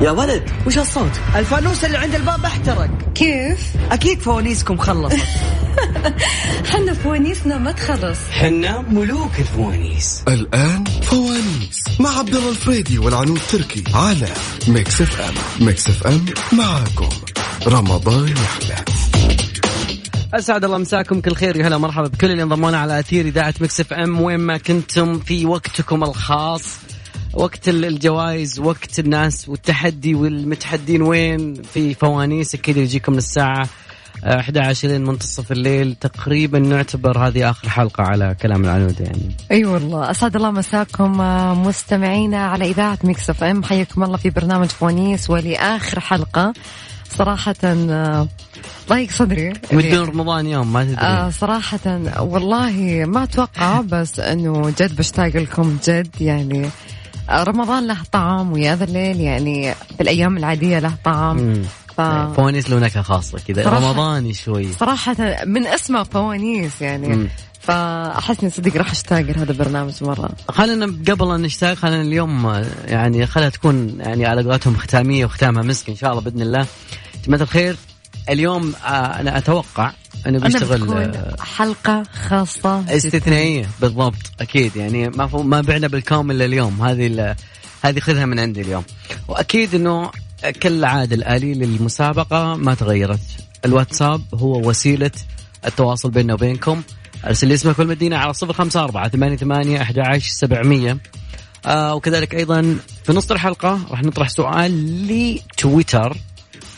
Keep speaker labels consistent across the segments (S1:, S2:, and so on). S1: يا ولد
S2: وش الصوت؟ الفانوس اللي عند الباب احترق
S3: كيف؟
S2: اكيد فوانيسكم خلصت
S3: حنا فوانيسنا ما تخلص
S4: حنا ملوك الفوانيس
S5: الآن فوانيس مع عبد الله الفريدي والعنود تركي على ميكس اف ام ميكس اف ام معاكم رمضان يحلى
S6: اسعد الله مساكم كل خير يا هلا مرحبا بكل اللي انضمونا على اثير اذاعه مكس اف ام وين ما كنتم في وقتكم الخاص وقت ال- الجوائز وقت الناس والتحدي والمتحدين وين في فوانيس اكيد يجيكم للساعه آه، 11 لين منتصف الليل تقريبا نعتبر هذه اخر حلقه على كلام العنود يعني
S3: اي أيوة والله اسعد الله مساكم آه، مستمعينا على اذاعه ميكس اف ام حياكم الله في برنامج فوانيس ولاخر حلقه صراحه آه، ضايق صدري
S6: ودون رمضان يوم ما تدري
S3: آه صراحة والله ما اتوقع بس انه جد بشتاق لكم جد يعني آه، رمضان له طعم ويا ذا الليل يعني في الايام العادية له طعم
S6: مم. نعم.
S3: ف...
S6: فوانيس له نكهه خاصه كذا
S3: آه. صراحة.
S6: رمضاني شوي
S3: صراحة من اسمه فوانيس
S6: إيه. مم.
S3: يعني فاحس اني صدق راح اشتاق لهذا البرنامج مرة
S6: خلينا قبل أن نشتاق خلينا اليوم آه، يعني خليها تكون يعني على قولتهم ختامية وختامها مسك إن شاء الله بإذن الله جماعة الخير اليوم آه، أنا أتوقع أنه
S3: أنا
S6: بيشتغل آه،
S3: بتكون حلقة خاصة
S6: استثنائية بالضبط أكيد يعني ما فو- ما بعنا بالكامل إلا اليوم هذه ال- هذه خذها من عندي اليوم وأكيد أنه كالعادة الآلية للمسابقة ما تغيرت الواتساب هو وسيلة التواصل بيننا وبينكم أرسل لي اسمك والمدينة على صفر خمسة أربعة ثمانية ثمانية أحد عشر سبعمية آه وكذلك ايضا في نص الحلقه راح نطرح سؤال لتويتر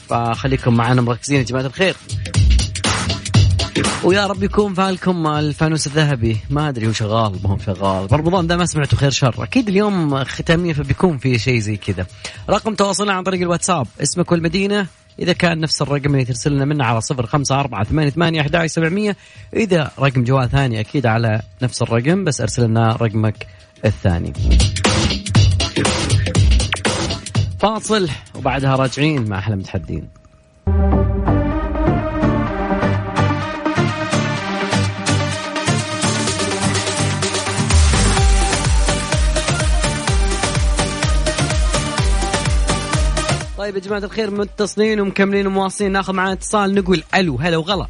S6: فخليكم معنا مركزين يا جماعه الخير ويا رب يكون فالكم الفانوس الذهبي ما ادري هو شغال ما هو شغال رمضان ده ما سمعته خير شر اكيد اليوم ختاميه فبيكون في شيء زي كذا رقم تواصلنا عن طريق الواتساب اسمك والمدينه إذا كان نفس الرقم اللي ترسل لنا منه على صفر خمسة أربعة ثمانية ثمانية أحد عشر سبعمية إذا رقم جوال ثاني أكيد على نفس الرقم بس أرسل لنا رقمك الثاني فاصل وبعدها راجعين مع احلى متحدين طيب يا جماعة الخير متصلين ومكملين ومواصلين ناخذ معنا اتصال نقول الو هلا وغلا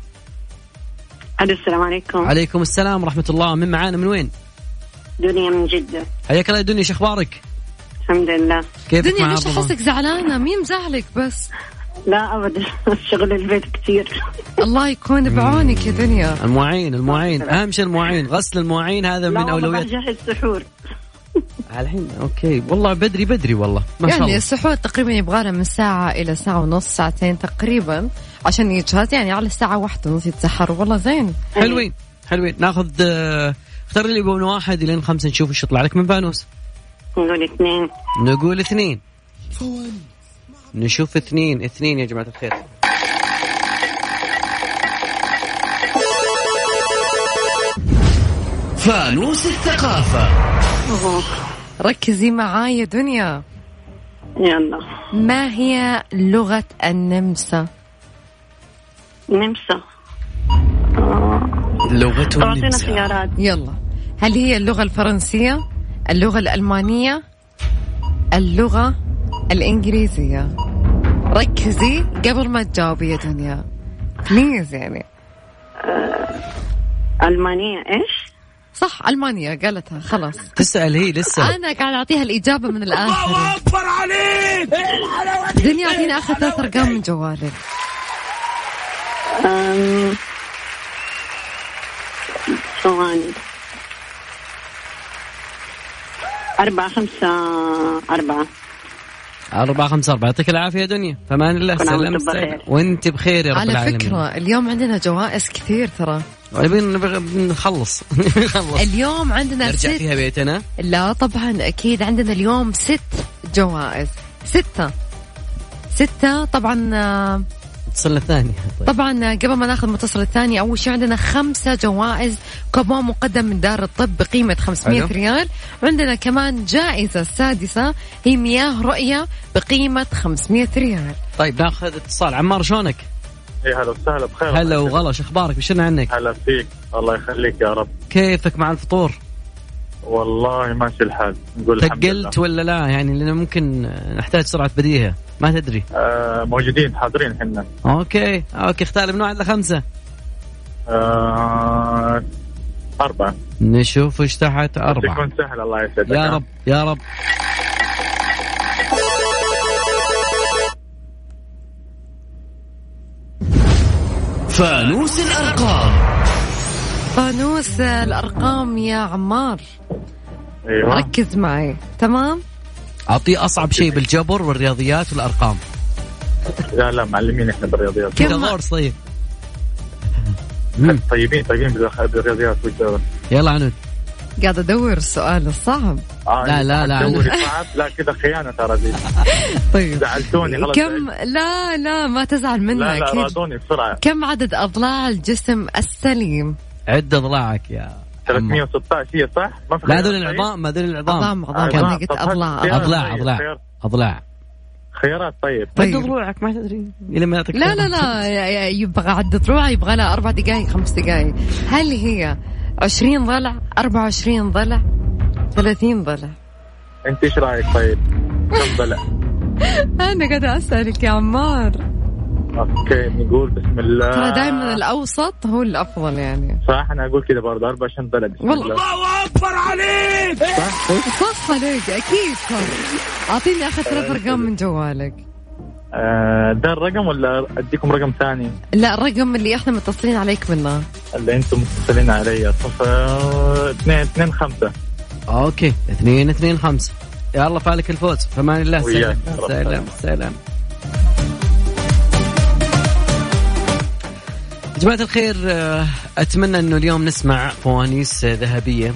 S7: الو السلام عليكم
S6: عليكم السلام ورحمة الله من معانا من وين؟
S7: دنيا من جدة
S6: حياك الله يا دنيا شو اخبارك؟
S7: الحمد لله
S6: كيفك
S3: دنيا
S6: مع
S3: ليش
S6: عبد الله؟
S3: احسك زعلانة مين مزعلك بس
S7: لا ابدا شغل البيت كثير
S3: الله يكون بعونك يا دنيا
S6: المواعين المواعين اهم شيء المواعين غسل المواعين هذا
S7: لا
S6: من
S7: والله
S6: اولويات
S7: بجهز السحور
S6: الحين اوكي والله بدري بدري والله ما شاء
S3: يعني
S6: الله
S3: السحور تقريبا يبغى من ساعة إلى ساعة ونص ساعتين تقريبا عشان يجهز يعني على الساعة واحدة ونص يتسحر والله زين
S6: حلوين حلوين ناخذ آه، اختار لي من واحد لين خمسه نشوف ايش يطلع لك من فانوس
S7: نقول اثنين
S6: نقول اثنين نشوف اثنين اثنين يا جماعة الخير
S4: فانوس الثقافة
S3: ركزي معاي يا دنيا
S7: يلا
S3: ما هي لغة النمسا؟
S7: نمسا طب
S6: لغته
S7: اعطينا
S6: النمسا
S7: خيارات
S3: يلا هل هي اللغة الفرنسية؟ اللغة الألمانية؟ اللغة الإنجليزية ركزي قبل ما تجاوبي يا دنيا بليز يعني
S7: المانية ايش؟
S3: صح ألمانيا قالتها خلاص
S6: تسأل هي لسه
S3: انا قاعد اعطيها الاجابه من الاخر الله اكبر عليك دنيا اعطيني اخر ثلاث ارقام من جوالك
S7: أم، ثواني أربعة خمسة أربعة
S6: أربعة خمسة أربعة يعطيك العافية يا دنيا فمان الله
S7: كل
S6: سلام
S7: عام وانتم
S6: سلام.
S7: بخير.
S6: وانت بخير يا رب
S3: على
S6: العالمين
S3: فكره اليوم عندنا جوائز كثير ترى
S6: نبي نبي- نخلص نخلص
S3: اليوم عندنا
S6: نرجع
S3: ست
S6: فيها بيتنا
S3: لا طبعا اكيد عندنا اليوم ست جوائز سته ستة طبعا آه،
S6: اتصلنا الثاني طيب.
S3: طبعا آه، قبل ما ناخذ المتصل الثاني اول شيء عندنا خمسة جوائز كوبون مقدم من دار الطب بقيمة 500
S6: حلو.
S3: ريال وعندنا كمان جائزة السادسة هي مياه رؤية بقيمة 500 ريال
S6: طيب ناخذ اتصال عمار شلونك؟
S8: يا
S9: إيه،
S8: هلا وسهلا بخير
S6: هلا وغلا شو اخبارك؟ بشرنا عنك؟
S8: هلا فيك الله يخليك يا رب
S6: كيفك مع الفطور؟
S9: والله ماشي الحال نقول الحمد لله
S6: ثقلت ولا لا يعني لانه ممكن نحتاج سرعه بديهه ما تدري
S9: آه موجودين حاضرين احنا
S6: اوكي اوكي اختار من واحد لخمسه
S9: آه أربعة
S6: نشوف ايش تحت اربعه
S9: تكون سهل الله يسعدك
S6: يا رب يا رب
S10: فانوس الأرقام
S3: فانوس الارقام يا عمار
S9: أيوة.
S6: طيب.
S3: ركز معي تمام
S6: اعطيه اصعب شيء بالجبر والرياضيات والارقام
S9: لا لا معلمين احنا بالرياضيات
S3: كم-
S6: فيثاغورس طيب
S9: طيبين طيبين بالأخ- بالرياضيات والجبر
S6: يلا عنود
S3: قاعد ادور السؤال الصعب
S9: آه
S6: لا، لا، لا.
S9: دوري صعب لا كذا خيانة ترى دي
S3: طيب
S9: زعلتوني خلاص
S3: كم لا لا ما تزعل
S9: لا
S3: منها
S9: لا
S3: اكيد
S9: راضوني بسرعة
S3: كم عدد اضلاع الجسم السليم
S6: عد اضلاعك يا عمار.
S9: 316 هي صح؟ ما في
S6: لا
S9: خيار
S6: هذول
S9: طيب؟
S6: العظام هذول العظام
S3: عظام عظام
S9: عظام.
S3: انا قلت
S9: طب هات
S3: اضلاع
S9: خيار.
S6: اضلاع
S9: طيب،
S6: اضلاع
S9: خير.
S6: اضلاع
S9: خيارات طيب
S6: عد
S3: طيب
S6: ضلوعك ما تدري الى ما يعطيك
S3: لا لا لا ي- ي- يبغى عدة ضلوع يبغى لها أربع دقائق خمس دقائق هل هي 20 ضلع 24 ضلع 30 ضلع
S9: انت ايش رايك طيب؟ كم بلا؟
S3: أنا قاعدة أسألك يا عمار
S9: اوكي نقول بسم الله
S3: ترى
S9: آه.
S3: دائما الأوسط هو الأفضل يعني
S9: صح انا اقول كذا برضه 24 بلا بسم
S3: والله.
S9: الله
S3: صح عليك أكيد صح أعطيني آخر ثلاث أرقام من جوالك
S9: آه، ده الرقم ولا اديكم رقم ثاني
S3: لا الرقم اللي احنا متصلين عليك منه
S9: اللي انتم متصلين علي صفر اثنين اثنين خمسة
S6: اوكي اثنين اثنين خمسة يلا فالك الفوز فمان الله
S9: وياك.
S6: سلام سلام سلام جماعة الخير آه، أتمنى أنه اليوم نسمع فوانيس آه، ذهبية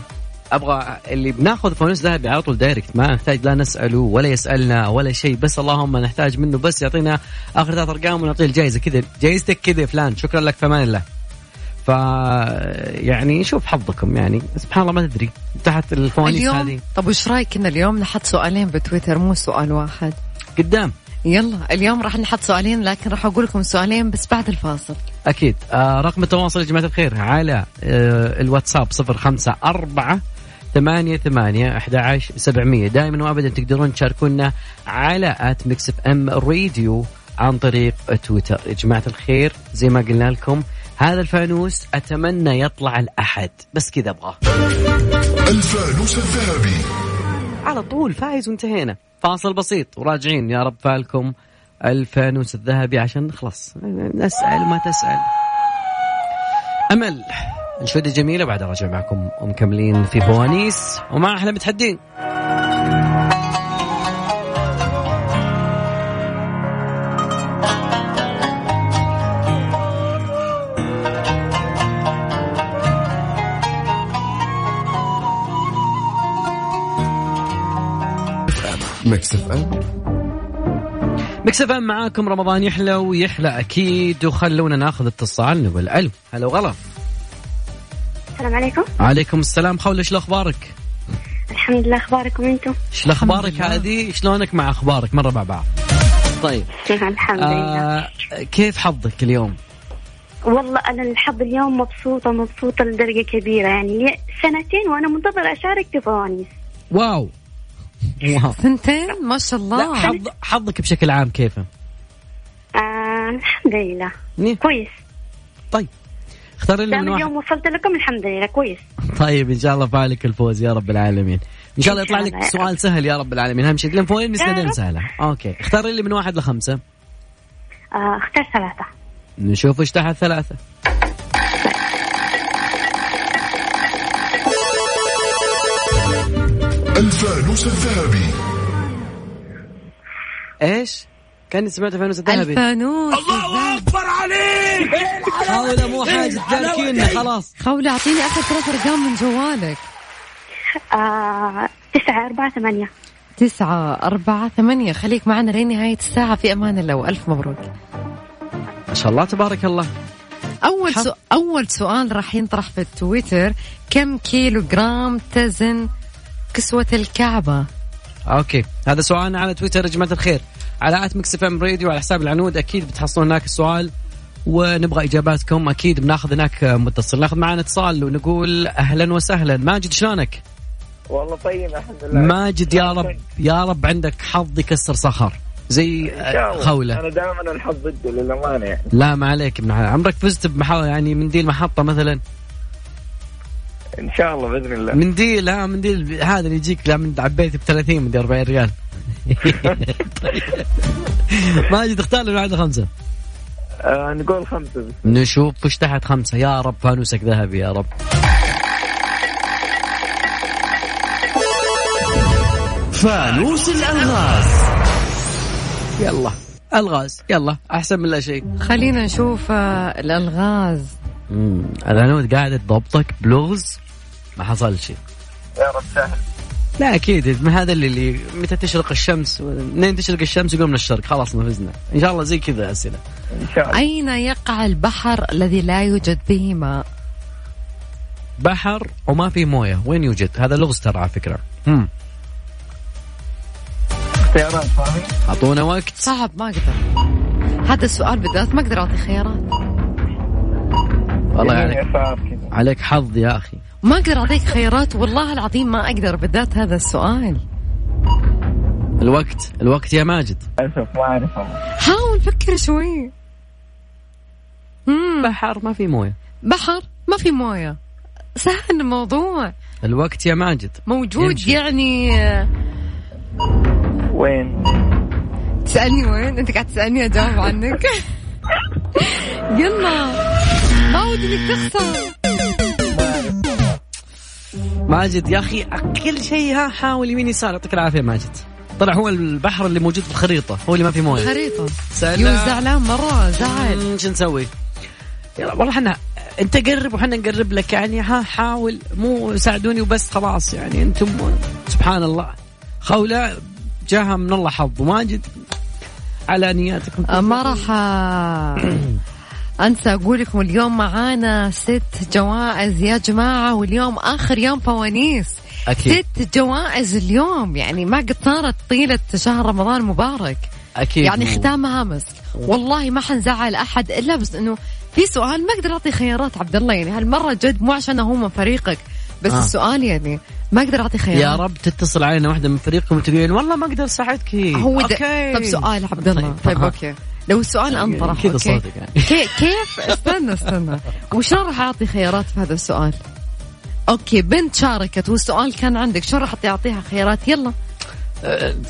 S6: أبغى اللي بناخذ فوانيس ذهبي على طول دايركت ما نحتاج لا نسأله ولا يسألنا ولا شيء بس اللهم نحتاج منه بس يعطينا آخر ثلاث أرقام ونعطيه الجائزة كذا جائزتك كذا يا فلان شكرا لك فمان الله ف يعني شوف حظكم يعني سبحان الله ما تدري تحت الفوانيس هذه
S3: اليوم طب وش رايك ان اليوم نحط سؤالين بتويتر مو سؤال واحد
S6: قدام
S3: يلا اليوم راح نحط سؤالين لكن راح اقول لكم سؤالين بس بعد الفاصل
S6: أكيد آه رقم التواصل يا جماعة الخير على آه الواتساب صفر خمسة أربعة ثمانية ثمانية أحد عشر سبعمية دائما وأبدا تقدرون تشاركونا على آت ميكس اف ام راديو عن طريق تويتر يا جماعة الخير زي ما قلنا لكم هذا الفانوس أتمنى يطلع الأحد بس كذا أبغاه
S5: الفانوس الذهبي
S6: على طول فايز وانتهينا فاصل بسيط وراجعين يا رب فالكم الفانوس الذهبي عشان خلاص نسأل ما تسأل أمل نشودة جميلة بعد راجع معكم ومكملين في فوانيس ومع أحلى متحدين
S5: ميكس اف ام
S6: مكسف أم معاكم رمضان يحلى ويحلى أكيد وخلونا ناخذ اتصال نقول ألو هلا وغلا
S11: السلام عليكم
S6: عليكم السلام خول إيش الأخبارك
S11: الحمد لله اخباركم انتم
S6: إيش الأخبارك هذه شلونك مع أخبارك مرة مع بعض طيب
S11: الحمد لله
S6: آه كيف حظك اليوم
S11: والله انا الحظ اليوم مبسوطه مبسوطه لدرجه كبيره يعني لي سنتين وانا منتظره اشارك في فوانيس
S6: واو واو
S3: ثنتين ما شاء
S6: لا
S3: الله
S6: حظ حظك بشكل عام كيفه؟
S11: آه الحمد لله
S6: ني-
S11: كويس
S6: طيب اختار لنا إيه. من
S11: دام
S6: واحد
S11: اليوم وصلت لكم الحمد لله كويس
S6: طيب ان شاء الله فالك الفوز يا رب العالمين ان شاء الله
S11: إن
S6: يطلع
S11: شاء
S6: لك
S11: الله يا
S6: سؤال سهل يا رب العالمين اهم شيء لان فوين
S11: يا
S6: سهلين
S11: رب.
S6: سهله اوكي اختار لي من واحد لخمسه
S11: آه اختار ثلاثه
S6: نشوف ايش تحت ثلاثه
S5: الفانوس الذهبي
S6: ايش؟ كاني سمعت فانوس الذهبي
S3: الفانوس الذهبي.
S6: هذا مو حاجه تذكرنا خلاص
S3: خولة اعطيني اخر ثلاث ارقام من جوالك
S11: آه تسعه اربعه ثمانيه
S3: تسعة أربعة ثمانية خليك معنا لنهاية الساعة في أمان الله وألف مبروك
S6: ما شاء الله تبارك الله
S3: أول
S6: حظ.
S3: سو... أول سؤال راح ينطرح في التويتر كم كيلو جرام تزن كسوة الكعبة
S6: اوكي هذا سؤالنا على تويتر يا جماعه الخير على ات ميكس اف ام راديو على حساب العنود اكيد بتحصلون هناك السؤال ونبغى اجاباتكم اكيد بناخذ هناك متصل ناخذ معنا اتصال ونقول اهلا وسهلا ماجد شلونك؟
S9: والله طيب الحمد لله
S6: ماجد يا رب يا رب عندك حظ يكسر صخر زي
S9: إن شاء الله.
S6: خولة
S9: انا دائما الحظ ضده للامانه يعني
S6: لا ما عليك ابن حلال عمرك فزت بمحا يعني منديل محطة مثلا
S9: ان شاء الله باذن الله
S6: منديل ها منديل هذا اللي يجيك لا من عبيته ب 30 مدري 40 ريال طيب. ماجد اختار لنا واحدة خمسة
S9: آه نقول خمسه بس
S6: نشوف وش تحت خمسة يا رب فانوسك ذهبي يا رب
S4: فانوس الالغاز
S6: يلا الغاز يلا احسن من لا شيء
S3: خلينا نشوف آه، الالغاز
S6: امم العنود قاعدة تضبطك بلغز ما حصل شيء
S9: يا رب سهل
S6: لا اكيد ما هذا اللي, اللي متى تشرق الشمس منين تشرق الشمس يقول من الشرق خلاص ما فزنا ان شاء الله زي كذا اسئله
S9: ان شاء الله
S3: اين يقع البحر الذي لا يوجد به ماء
S6: بحر وما في مويه وين يوجد هذا لغز ترى على فكره امم
S9: اختيارات فاهمين
S6: اعطونا وقت
S3: صعب ما اقدر هذا السؤال بالذات ما اقدر اعطي خيارات
S6: والله عليك
S9: يسار كذا
S6: عليك حظ يا اخي
S3: ما اقدر اعطيك خيارات والله العظيم ما اقدر بالذات هذا السؤال
S6: الوقت الوقت يا ماجد
S9: اسف ما اعرف والله.
S3: حاول فكر شوي مم.
S6: بحر ما في مويه
S3: بحر ما في مويه سهل الموضوع
S6: الوقت يا ماجد
S3: موجود
S6: يمشي.
S3: يعني آه،
S9: وين
S3: تسالني وين انت قاعد تسالني اجاوب عنك يلا عود انك تخسر
S6: ماجد يا اخي كل شيء ها حاول يمين يسار يعطيك العافيه ماجد طلع هو البحر اللي موجود في الخريطه هو اللي ما في مويه
S3: خريطه
S6: سلام.
S3: يوز زعلان مره زعل
S6: مم، شو نسوي؟ يلا والله احنا انت قرب وحنا نقرب لك يعني ها حاول مو ساعدوني وبس خلاص يعني انتم سبحان الله خولة جاها من الله حظ وماجد على نياتكم
S3: آه، ما راح آه، انسى اقول لكم اليوم معانا ست جوائز يا جماعه واليوم اخر يوم فوانيس
S6: أكيد.
S3: ست جوائز اليوم يعني ما قد صارت طيله شهر رمضان مبارك
S6: اكيد
S3: يعني ختامها مسك والله ما حنزعل احد الا بس انه في سؤال ما اقدر اعطي خيارات عبد الله يعني هالمره جد مو عشان هو من فريقك بس
S6: آه.
S3: آه. السؤال يعني ما اقدر اعطي خيارات
S6: يا رب تتصل علينا واحده من فريقكم وتقولين والله ما اقدر اساعدك
S3: هو ده طب سؤال عبد الله
S6: طيب،
S3: طيب
S6: ها.
S3: اوكي لو السؤال انطرح
S6: كذا
S3: أوكي.
S6: صادق يعني.
S3: كي- كيف استنى استنى وشلون راح اعطي خيارات في هذا السؤال اوكي بنت شاركت والسؤال كان عندك شلون راح تعطيها خيارات يلا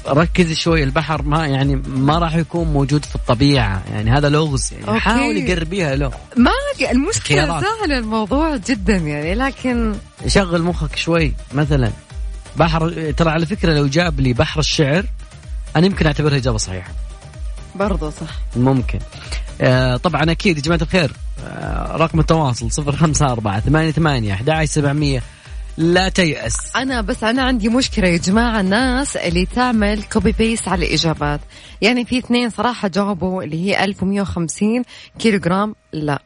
S6: ركز شوي البحر ما يعني ما راح يكون موجود في الطبيعه يعني هذا لغز يعني
S3: أوكي.
S6: حاول قربيها له
S3: ما لقى- المشكله
S6: خيارات.
S3: سهل الموضوع جدا يعني لكن
S6: شغل مخك شوي مثلا بحر ترى على فكره لو جاب لي بحر الشعر انا يمكن اعتبرها اجابه صحيحه
S3: برضو صح
S6: ممكن آه طبعا اكيد يا جماعه الخير آه رقم التواصل 054 88 11700 لا تيأس
S3: انا بس انا عندي مشكله يا جماعه الناس اللي تعمل كوبي بيست على الاجابات يعني في اثنين صراحه جاوبوا اللي هي 1150 كيلو جرام لا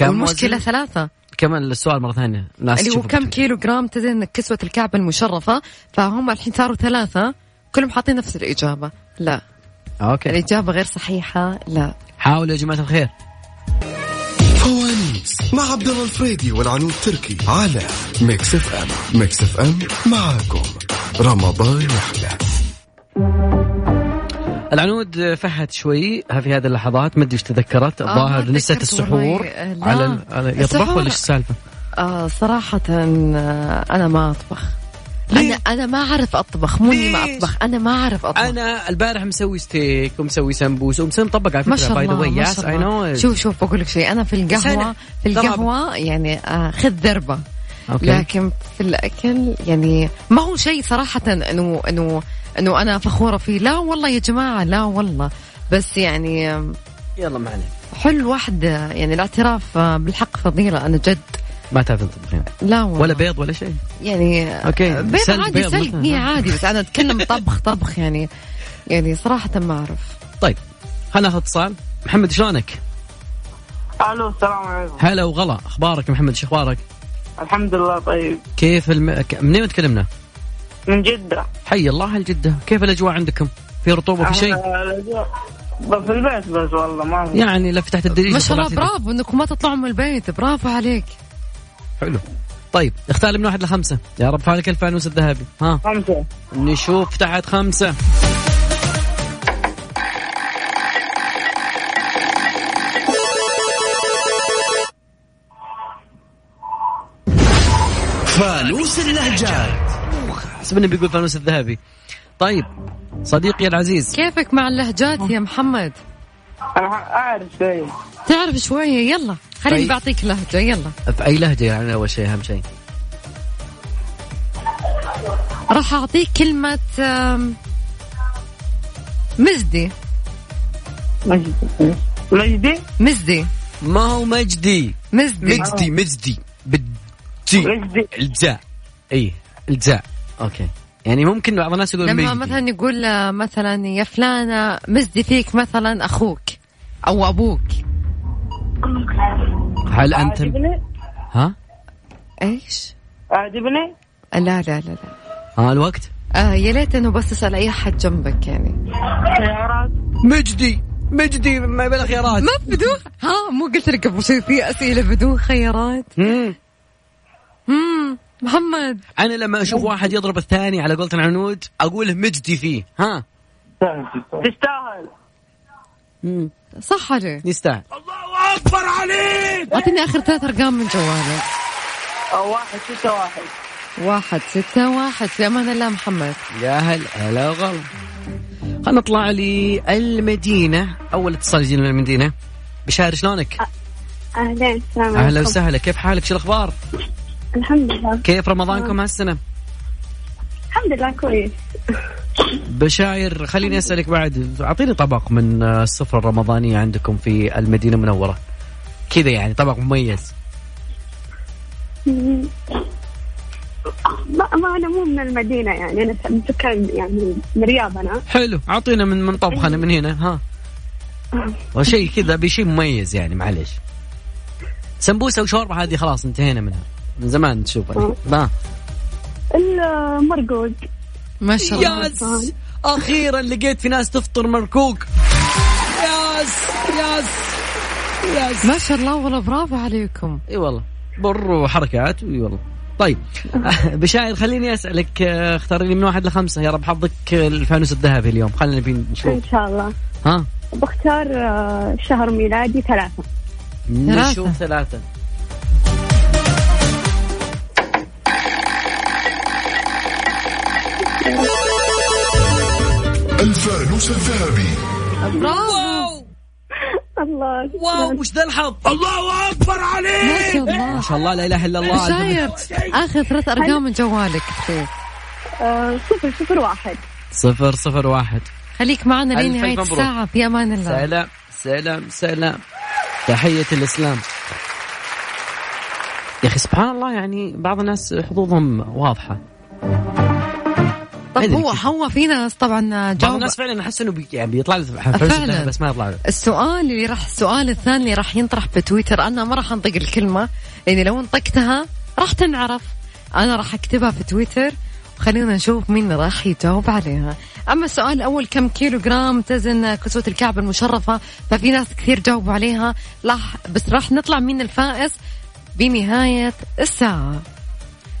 S3: والمشكله
S6: وزن؟
S3: ثلاثه
S6: كم السؤال مره ثانيه الناس
S3: اللي هو
S6: تشوفك.
S3: كم كيلو جرام تزن كسوة الكعبة المشرفة فهم الحين صاروا ثلاثة كلهم حاطين نفس الإجابة لا
S6: اوكي
S3: الإجابة غير صحيحة لا
S6: حاولوا يا جماعه الخير
S5: فوانيس مع عبد الله الفريدي والعنود تركي على ميكس اف ام ميكس اف ام معاكم رمضان يحلى
S6: العنود فهت شوي في هذه اللحظات ما ادري ايش تذكرت
S3: آه، ما
S6: الظاهر نسيت
S3: تذكرت
S6: السحور
S3: والله. آه، لا.
S6: على, ال- على يطبخ
S3: السحور.
S6: ولا ايش السالفه؟
S3: آه صراحة آه أنا ما أطبخ أنا أنا ما أعرف أطبخ مو إني ما
S6: ليش؟
S3: أطبخ أنا ما أعرف أطبخ
S6: انا البارح مسوي ستيك ومسوي سمبوس ومسوي مطبق على
S3: ما
S6: فكره
S3: شاء
S6: باي ذا
S3: الله
S6: واي
S3: ما
S6: يس
S3: شاء
S6: اي
S3: الله
S6: نو
S3: شوف شوف بقول لك شيء أنا في القهوة
S6: أنا-
S3: في
S6: طبعاً.
S3: القهوة يعني آه خذ ذربة
S6: أوكي.
S3: لكن في الأكل يعني ما هو شيء صراحة إنه إنه إنه أنا فخورة فيه لا والله يا جماعة لا والله بس يعني آم،
S6: يلا ما عليك
S3: حلو الواحد يعني الاعتراف بالحق فضيلة أنا جد
S6: ما تعرفين تطبخين
S3: لا والله
S6: ولا بيض ولا شيء
S3: يعني
S6: أوكي.
S3: بيض
S6: سلق
S3: عادي
S6: بيض
S3: سلق
S6: مثلاً.
S3: هي عادي بس أنا أتكلم طبخ طبخ يعني يعني صراحة ما أعرف
S6: طيب خلينا ناخذ اتصال محمد شلونك؟
S12: الو السلام عليكم
S6: هلا وغلا اخبارك يا محمد شو اخبارك؟
S12: الحمد لله طيب
S6: كيف الم... ك- منين تكلمنا؟
S12: من جدة
S6: حي الله الجدة كيف الاجواء عندكم؟ في رطوبه في شيء؟
S12: أنا الأجواء- بس في البيت بس والله ما في
S6: يعني لا فتحت الدريج
S3: ما شاء الله برافو إنكم ما تطلعوا من البيت برافو عليك
S6: حلو طيب اختار لي من واحد لخمسة يا رب فالك الفانوس الذهبي ها
S12: خمسة
S6: نشوف تحت خمسة
S4: فانوس اللهجات
S6: حسبني بيقول فانوس الذهبي طيب صديقي العزيز
S3: كيفك مع اللهجات يا محمد
S12: أنا أعرف شوي
S3: تعرف شوية يلا خليني
S6: طيب.
S3: بعطيك لهجة يلا
S6: في أي لهجة يعني أول شيء أهم شيء
S3: راح أعطيك كلمة آم، مزدي
S12: مجدي مجدي
S3: مزدي
S6: ما هو مجدي
S3: مزدي
S6: مجدي مجدي بالجي
S12: مجدي
S6: الجاء اي الجاء اوكي يعني ممكن بعض الناس يقول
S3: لما
S6: مجدي
S3: مثلا يقول آه، مثلا يا فلانة مزدي فيك مثلا أخوك أو أبوك
S6: هل انت
S12: عاجبني
S6: ها
S3: إيش آه،
S12: عاجبني
S3: لا لا لا لا
S6: ها الوقت
S3: آه يا ليت انه بس اسال اي حد جنبك يعني
S12: خيارات
S6: مجدي مجدي ما بلا خيارات
S3: ما بدون ها مو قلت لك قبل شوي في اسئله بدون خيارات
S6: مم.
S3: امم محمد
S6: انا لما اشوف واحد يضرب الثاني على قولة العنود اقول مجدي فيه ها
S12: تستاهل
S6: مم.
S3: صح عليه
S6: يستاهل
S3: اعطيني اخر ثلاث ارقام من جوالك
S12: أو واحد ستة واحد
S3: واحد ستة واحد في امان الله محمد
S6: يا هل هلا وغلا خلينا نطلع للمدينة أول اتصال يجينا من المدينة بشار شلونك؟
S3: آه،
S11: آه،
S1: اهلا السلام
S6: أهلا
S1: عليكم
S6: وسهلا كيف حالك شو الأخبار؟
S1: الحمد لله
S6: كيف رمضانكم هالسنة؟
S1: نعم. الحمد لله كويس
S6: بشاير خليني أسألك بعد أعطيني طبق من آه، السفرة الرمضانية عندكم في المدينة المنورة كذا يعني طبق مميز
S1: مم. ما, ما انا مو من المدينه يعني انا من سكان يعني من الرياض انا
S6: حلو أعطينا من من طبخنا من هنا ها وشيء كذا بشيء مميز يعني معلش سمبوسة وشوربة هذه خلاص انتهينا منها من زمان تشوفها ها
S1: المرقود
S3: ما شاء الله
S6: يس اخيرا لقيت في ناس تفطر مركوك يس يس يس
S3: ما شاء الله والله برافو عليكم
S6: اي والله بر وحركات اي والله طيب بشاير خليني اسالك آه، اختاري لي من واحد لخمسه يا رب حظك آه، الفانوس الذهبي اليوم خلينا نبي
S1: ان
S6: نشوف
S1: شاء الله
S6: ها
S1: بختار آه، شهر ميلادي ثلاثة
S3: ثلاثة.
S6: نشوف ثلاثه
S5: الفانوس الذهبي
S3: برافو
S1: الله
S6: واو وش ذا الحظ الله اكبر عليك
S3: ما
S6: ما
S3: شاء الله
S6: شاء الله لا اله الا الله
S3: بشاير اخر ثلاث ارقام من جوالك اختي
S1: آه، صفر صفر واحد
S6: صفر صفر واحد
S3: خليك معنا
S6: ألف ألف
S3: لنهايه
S6: مبروك.
S3: الساعه في امان الله
S6: سلام سلام سلام تحية الإسلام يا أخي سبحان الله يعني بعض الناس حظوظهم واضحة
S3: طب
S6: أدري
S3: هو
S6: كيف.
S3: هو في ناس طبعا
S6: بعض
S3: جاوب
S6: الناس فعلا أحس إنه بي يعني بيطلع له حفلة
S3: فعلاً.
S6: الذهب بس ما يطلع له
S3: السؤال اللي راح السؤال الثاني اللي راح ينطرح بتويتر انا ما راح انطق الكلمه لاني لو انطقتها راح تنعرف انا راح اكتبها في تويتر وخلينا نشوف مين راح يجاوب عليها اما السؤال الاول كم كيلو جرام تزن كسوة الكعب المشرفه ففي ناس كثير جاوبوا عليها راح بس راح نطلع مين الفائز بنهايه الساعه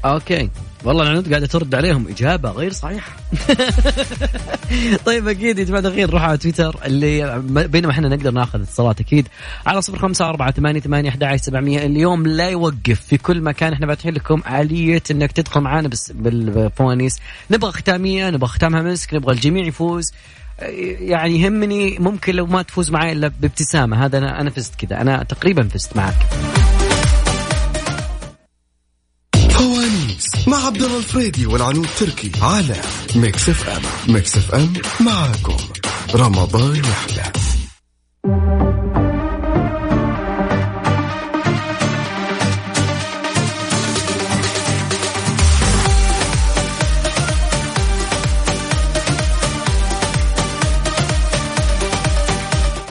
S6: أوكي والله العنود قاعدة ترد عليهم إجابة غير صحيحة طيب أكيد يا جماعة الخير روحوا على تويتر اللي بينما احنا نقدر ناخذ اتصالات أكيد على صفر خمسة أربعة ثمانية ثمانية أحد عشر سبعمية اليوم لا يوقف في كل مكان احنا فاتحين لكم آلية إنك تدخل معانا بس بالفوانيس نبغى ختامية نبغى ختامها مسك نبغى الجميع يفوز يعني يهمني ممكن لو ما تفوز معي الا بابتسامه هذا انا انا فزت كذا انا تقريبا فزت معك
S5: فوانيس مع عبد الله الفريدي والعنود تركي على ميكس اف ام ميكس اف ام معاكم رمضان يحلى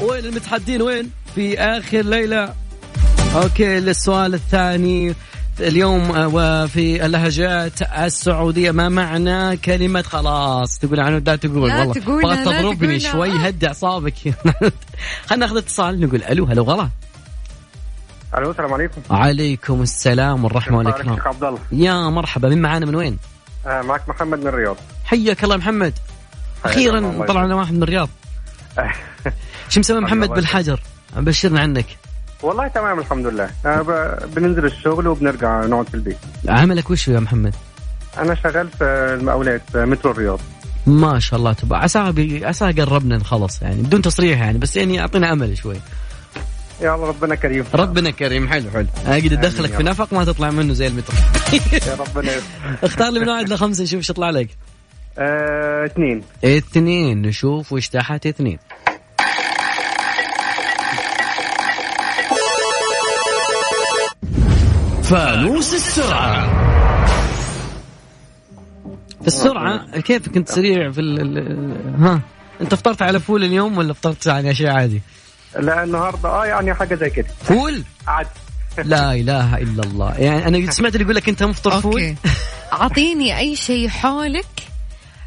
S6: وين المتحدين وين في اخر ليله اوكي للسؤال الثاني اليوم آه، وفي اللهجات السعوديه ما معنى كلمه خلاص تقول عنود لا تقول
S3: لا
S6: والله
S3: تقولها،
S6: بغت
S3: لا
S6: تضربني
S3: تقولها. آه.
S6: شوي هدي اعصابك خلينا ناخذ اتصال نقول الو هلا وغلا
S8: الو السلام عليكم
S6: عليكم السلام والرحمة والإكرام
S8: شيخ عبد الله
S6: يا مرحبا من معانا من وين؟
S8: آه، معك محمد من الرياض
S6: حياك الله يا محمد
S8: حياك الله،
S6: أخيرا
S8: الله
S6: طلع لنا واحد من الرياض شو مسوي محمد
S8: الله يسلمك.
S6: بالحجر؟ بشرنا عنك
S8: والله تمام الحمد لله آه، ب- بننزل الشغل وبنرجع نقعد في البيت
S6: عملك وش يا محمد؟
S8: انا شغال في المقاولات في مترو الرياض
S6: ما شاء الله تبارك عساه بي- عساه قربنا نخلص يعني بدون تصريح يعني بس يعني اعطينا امل شوي
S8: يا الله ربنا كريم
S6: ربنا كريم حلو حلو اقدر ادخلك
S8: يا
S6: في
S8: رب.
S6: نفق ما تطلع منه زي المتر
S8: يا ربنا يستر.
S6: اختار لي من واحد لخمسه نشوف ايش يطلع لك
S8: آه، اثنين
S6: اثنين نشوف وش تحت اثنين
S4: فانوس السرعة
S6: في السرعه كيف كنت سريع في ال... ال- ها انت فطرت على فول اليوم ولا فطرت يعني اشياء عادي
S8: لا النهارده اه يعني حاجه زي كده
S6: فول
S8: عدس
S6: لا اله الا الله يعني انا سمعت اللي يقول لك انت مفطر فول
S3: اوكي اعطيني اي شيء حولك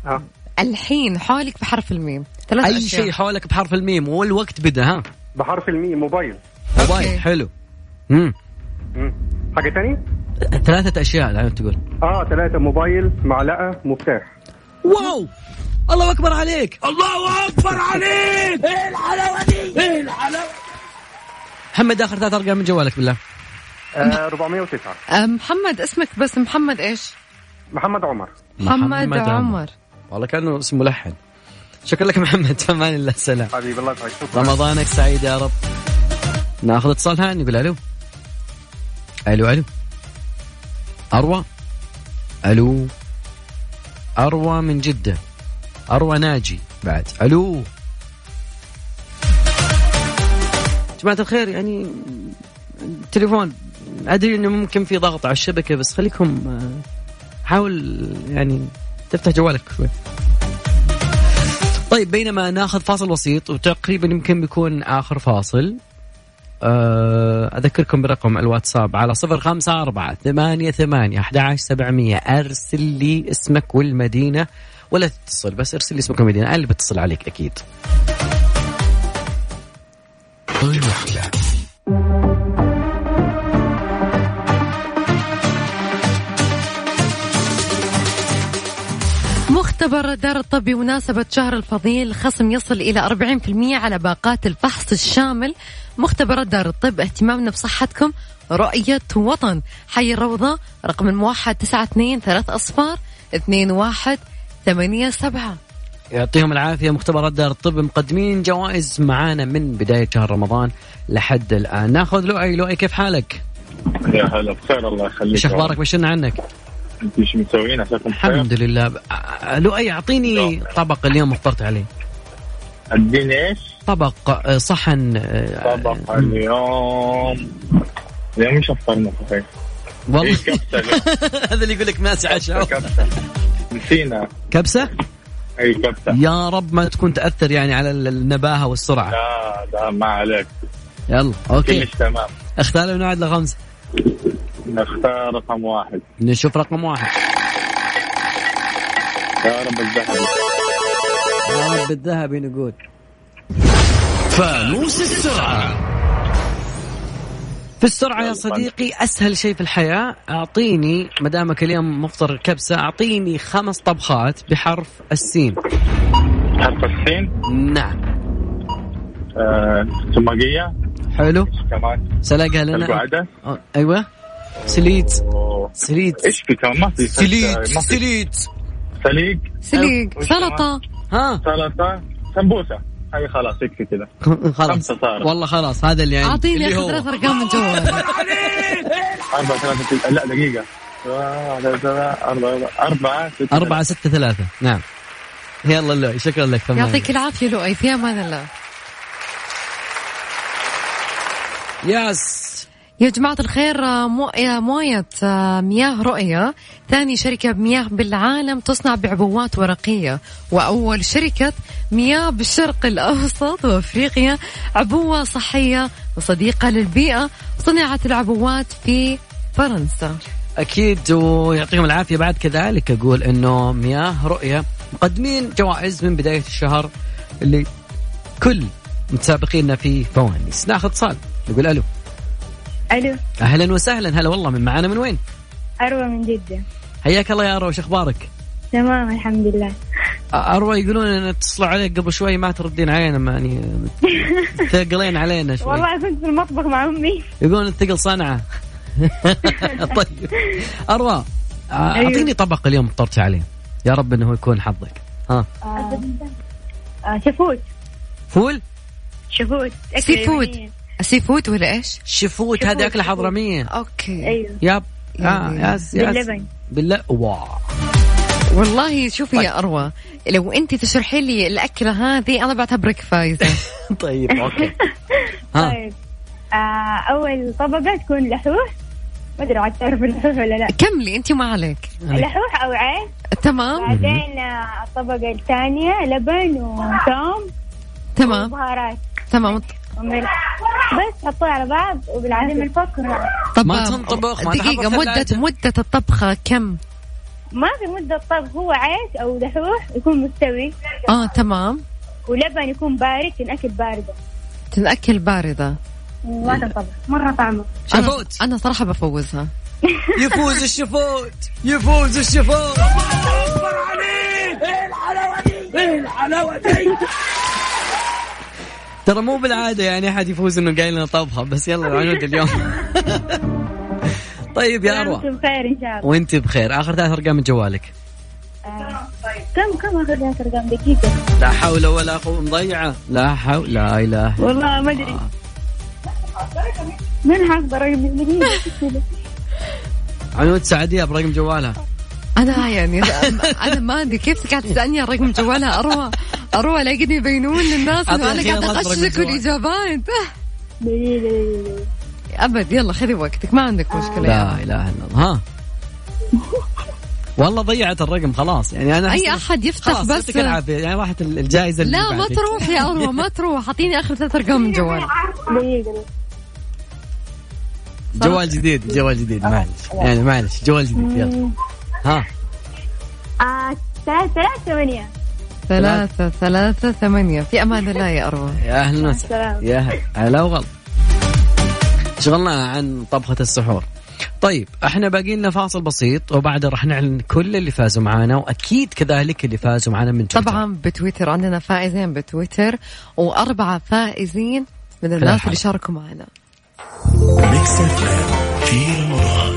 S8: آه.
S3: الحين حولك بحرف الميم ثلاث
S6: اي شيء حولك بحرف الميم والوقت بدا ها
S8: بحرف الميم موبايل
S6: موبايل حلو امم
S8: مم. حاجه تاني
S6: ثلاثة أشياء الآن تقول
S8: اه ثلاثه موبايل معلقه مفتاح
S6: واو الله أكبر عليك
S4: الله أكبر عليك
S6: إيه الحلاوة دي إيه الحلاوة محمد آخر ثلاث أرقام من جوالك بالله
S8: آه 409
S3: آه، محمد اسمك بس محمد ايش؟
S8: محمد عمر
S3: محمد عمر
S6: والله كأنه اسم ملحن شكرا لك محمد في أمان الله السلام
S8: حبيبي الله يسعدك شكرا
S6: رمضانك سعيد يا رب ناخذ اتصال ثاني نقول الو الو الو اروى الو اروى من جده اروى ناجي بعد الو جماعة الخير يعني التليفون ادري انه ممكن في ضغط على الشبكة بس خليكم آه، حاول يعني تفتح جوالك شوي طيب بينما ناخذ فاصل بسيط وتقريبا يمكن بيكون اخر فاصل آه، اذكركم برقم الواتساب على صفر خمسة أربعة ثمانية ثمانية أحد عشر سبعمية أرسل لي اسمك والمدينة ولا تتصل بس أرسل لي اسمك والمدينة أنا اللي بتصل عليك أكيد
S5: الوحدة
S3: مختبر دار الطب بمناسبة شهر الفضيل خصم يصل إلى 40% على باقات الفحص الشامل مختبر دار الطب اهتمامنا بصحتكم رؤية وطن حي الروضة رقم الموحد 92 3 أصفار 21 ثمانية سبعة
S6: يعطيهم العافية مختبرات دار الطب مقدمين جوائز معانا من بداية شهر رمضان لحد الآن ناخذ لؤي لؤي كيف حالك؟
S9: يا هلا بخير الله يخليك
S6: ايش أخبارك بشرنا عنك؟
S9: انتم ايش مسويين عساكم بخير
S6: الحمد لله آه، لؤي أعطيني طبق اليوم افطرت عليه
S9: اديني ايش؟
S6: طبق آه، صحن آه،
S9: طبق اليوم اليوم ايش افطرنا صحيح؟
S6: والله
S9: إيه، كبسة اليوم.
S6: هذا اللي يقول لك ناس عشاء
S9: كبسة نسينا
S6: كبسه
S9: اي كبسة
S6: يا رب ما تكون تاثر يعني على ال- النباهه والسرعه
S9: لا لا ما عليك
S6: يلا اوكي
S9: كلش تمام
S6: اختار من واحد لخمسه
S9: نختار رقم واحد
S6: نشوف رقم واحد
S9: يا رب الذهب
S6: يا رب الذهبي نقول
S4: فانوس السرعة
S6: في السرعه يا صديقي اسهل شيء في الحياه اعطيني ما دامك اليوم مفطر كبسه اعطيني خمس طبخات بحرف السين
S9: حرف السين
S6: نعم
S9: آه، سماقية
S6: حلو
S9: كمان
S6: سلقها لنا
S9: القعدة
S6: أو- ايوه سليت سليت
S9: ايش في كمان ما في
S6: سليت
S9: ما في-
S6: سليت
S9: سليق
S3: سليق
S9: وش
S3: سلطة
S6: ها
S9: سلطة سمبوسة هاي خلاص يكفي كذا
S6: خلاص
S9: خمسة صارت.
S6: والله خلاص هذا اللي عندي
S3: أعطيني
S6: اللي
S3: أخذ
S6: هو.
S3: ثلاث أرقام من جوالك
S9: أربعة ثلاثة تل- لا دقيقة واحدة، ثلاثة، أربعة أربعة ستة
S6: أربعة ستة ثلاثة نعم يلا لؤي شكرا لك فنان.
S3: يعطيك العافية لؤي في أمان الله
S6: يس
S3: يا جماعة الخير آه، مو... يا موية آه، مياه رؤية ثاني شركة مياه بالعالم تصنع بعبوات ورقية وأول شركة مياه بالشرق الأوسط وأفريقيا عبوة صحية وصديقة للبيئة صنعت العبوات في فرنسا
S6: أكيد ويعطيهم العافية بعد كذلك أقول إنه مياه رؤية مقدمين جوائز من بداية الشهر اللي كل متسابقيننا في فوانيس ناخذ اتصال نقول ألو
S11: الو
S6: اهلا وسهلا هلا والله من معانا من وين؟
S11: اروى من جده
S6: حياك الله يا اروى وش اخبارك؟
S11: تمام الحمد لله
S6: اروى يقولون ان اتصلوا عليك قبل شوي ما تردين علينا ما يعني ثقلين علينا شوي
S3: طيب.
S11: والله كنت في المطبخ مع امي
S6: يقولون الثقل صنعه طيب اروى
S11: أيوه.
S6: اعطيني طبق اليوم افطرت عليه يا رب انه يكون حظك ها
S11: آه، آه، شفوت
S6: فول
S11: شفوت أكلة
S3: سي فود
S11: يمنية.
S3: سي فود ولا ايش؟
S6: شفوت هذه اكله حضرميه
S3: اوكي
S11: ايوه
S6: ياب آه ياس ياس
S11: باللبن.
S6: بالله واو
S3: والله شوفي يا اروى لو انت تشرحي لي الاكله هذه انا بعتبرك فايزه
S6: طيب اوكي ها
S11: طيب آه، اول طبقه تكون لحوح ما ادري عاد تعرف اللحوح ولا لا
S3: كملي انت ما عليك
S11: لحوح او عين
S3: تمام
S11: بعدين آه، الطبقه الثانيه لبن وثوم
S3: تمام
S11: وبهارات
S3: تمام
S11: وملح بس حطوه على بعض
S3: آه.
S11: وبالعزم الفقرة
S3: طب
S6: ما تنطبخ، ما
S3: دقيقه
S6: تحط
S3: مده
S6: ثلاجة.
S3: مده الطبخه كم
S11: ما في مدة طبخ هو عيش أو دحوح يكون مستوي
S6: آه.
S3: اه تمام
S11: ولبن يكون بارد تنأكل باردة
S3: تنأكل بارده
S11: ما تنطبخ مرة طعمه
S3: انا
S6: شفوت
S3: انا صراحه بفوزها
S6: يفوز الشفوت يفوز الشفوت ترى مو بالعادة يعني أحد يفوز إنه قايل لنا طبخة بس يلا العنود اليوم طيب يا أروى
S11: وأنتم بخير إن شاء الله
S6: وأنت بخير آخر ثلاث أرقام من جوالك
S11: آه. كم كم آخر لها أرقام دقيقة
S6: لا حول ولا قوة مضيعة لا حول لا إله
S11: والله ما أدري من حافظة رقم دقيقة
S6: عنود سعدية برقم جوالها
S3: انا يعني انا ما ادري كيف قاعد تسالني عن رقم جوالها اروى اروى لاقيني بينون للناس
S6: أعطيني
S3: انه انا قاعد
S6: خيارات رقم
S3: اغشك
S6: جوال.
S3: الاجابات
S11: دقيقة دقيقة
S3: ابد يلا خذي وقتك ما عندك مشكله
S6: آه. لا
S3: يعني.
S6: إله إلا الله ها والله ضيعت الرقم خلاص يعني أنا
S3: اي احد يفتح
S6: خلاص
S3: بس
S6: يعطيك العافية يعني راحت الجائزة اللي
S3: لا ما
S6: بعدك.
S3: تروح يا اروى ما تروح اعطيني اخر ثلاث ارقام من جوالك
S11: دقيقة
S6: جوال جديد جوال جديد معلش يعني معلش جوال جديد يلا ها
S11: آه ثلاثة ثلاثة ثمانية
S3: ثلاثة ثلاثة ثمانية في أمان الله يا أروى
S6: يا اهلا وسهلا
S11: السلامة.
S6: يا هلا. هلا وغلا شغلنا عن طبخة السحور طيب احنا باقي لنا فاصل بسيط وبعدها راح نعلن كل اللي فازوا معنا واكيد كذلك اللي فازوا معنا من تويتر.
S3: طبعا بتويتر عندنا فائزين بتويتر وأربعة فائزين من الناس
S6: الحلقة.
S3: اللي شاركوا معنا
S5: ميكس اف ام في رمضان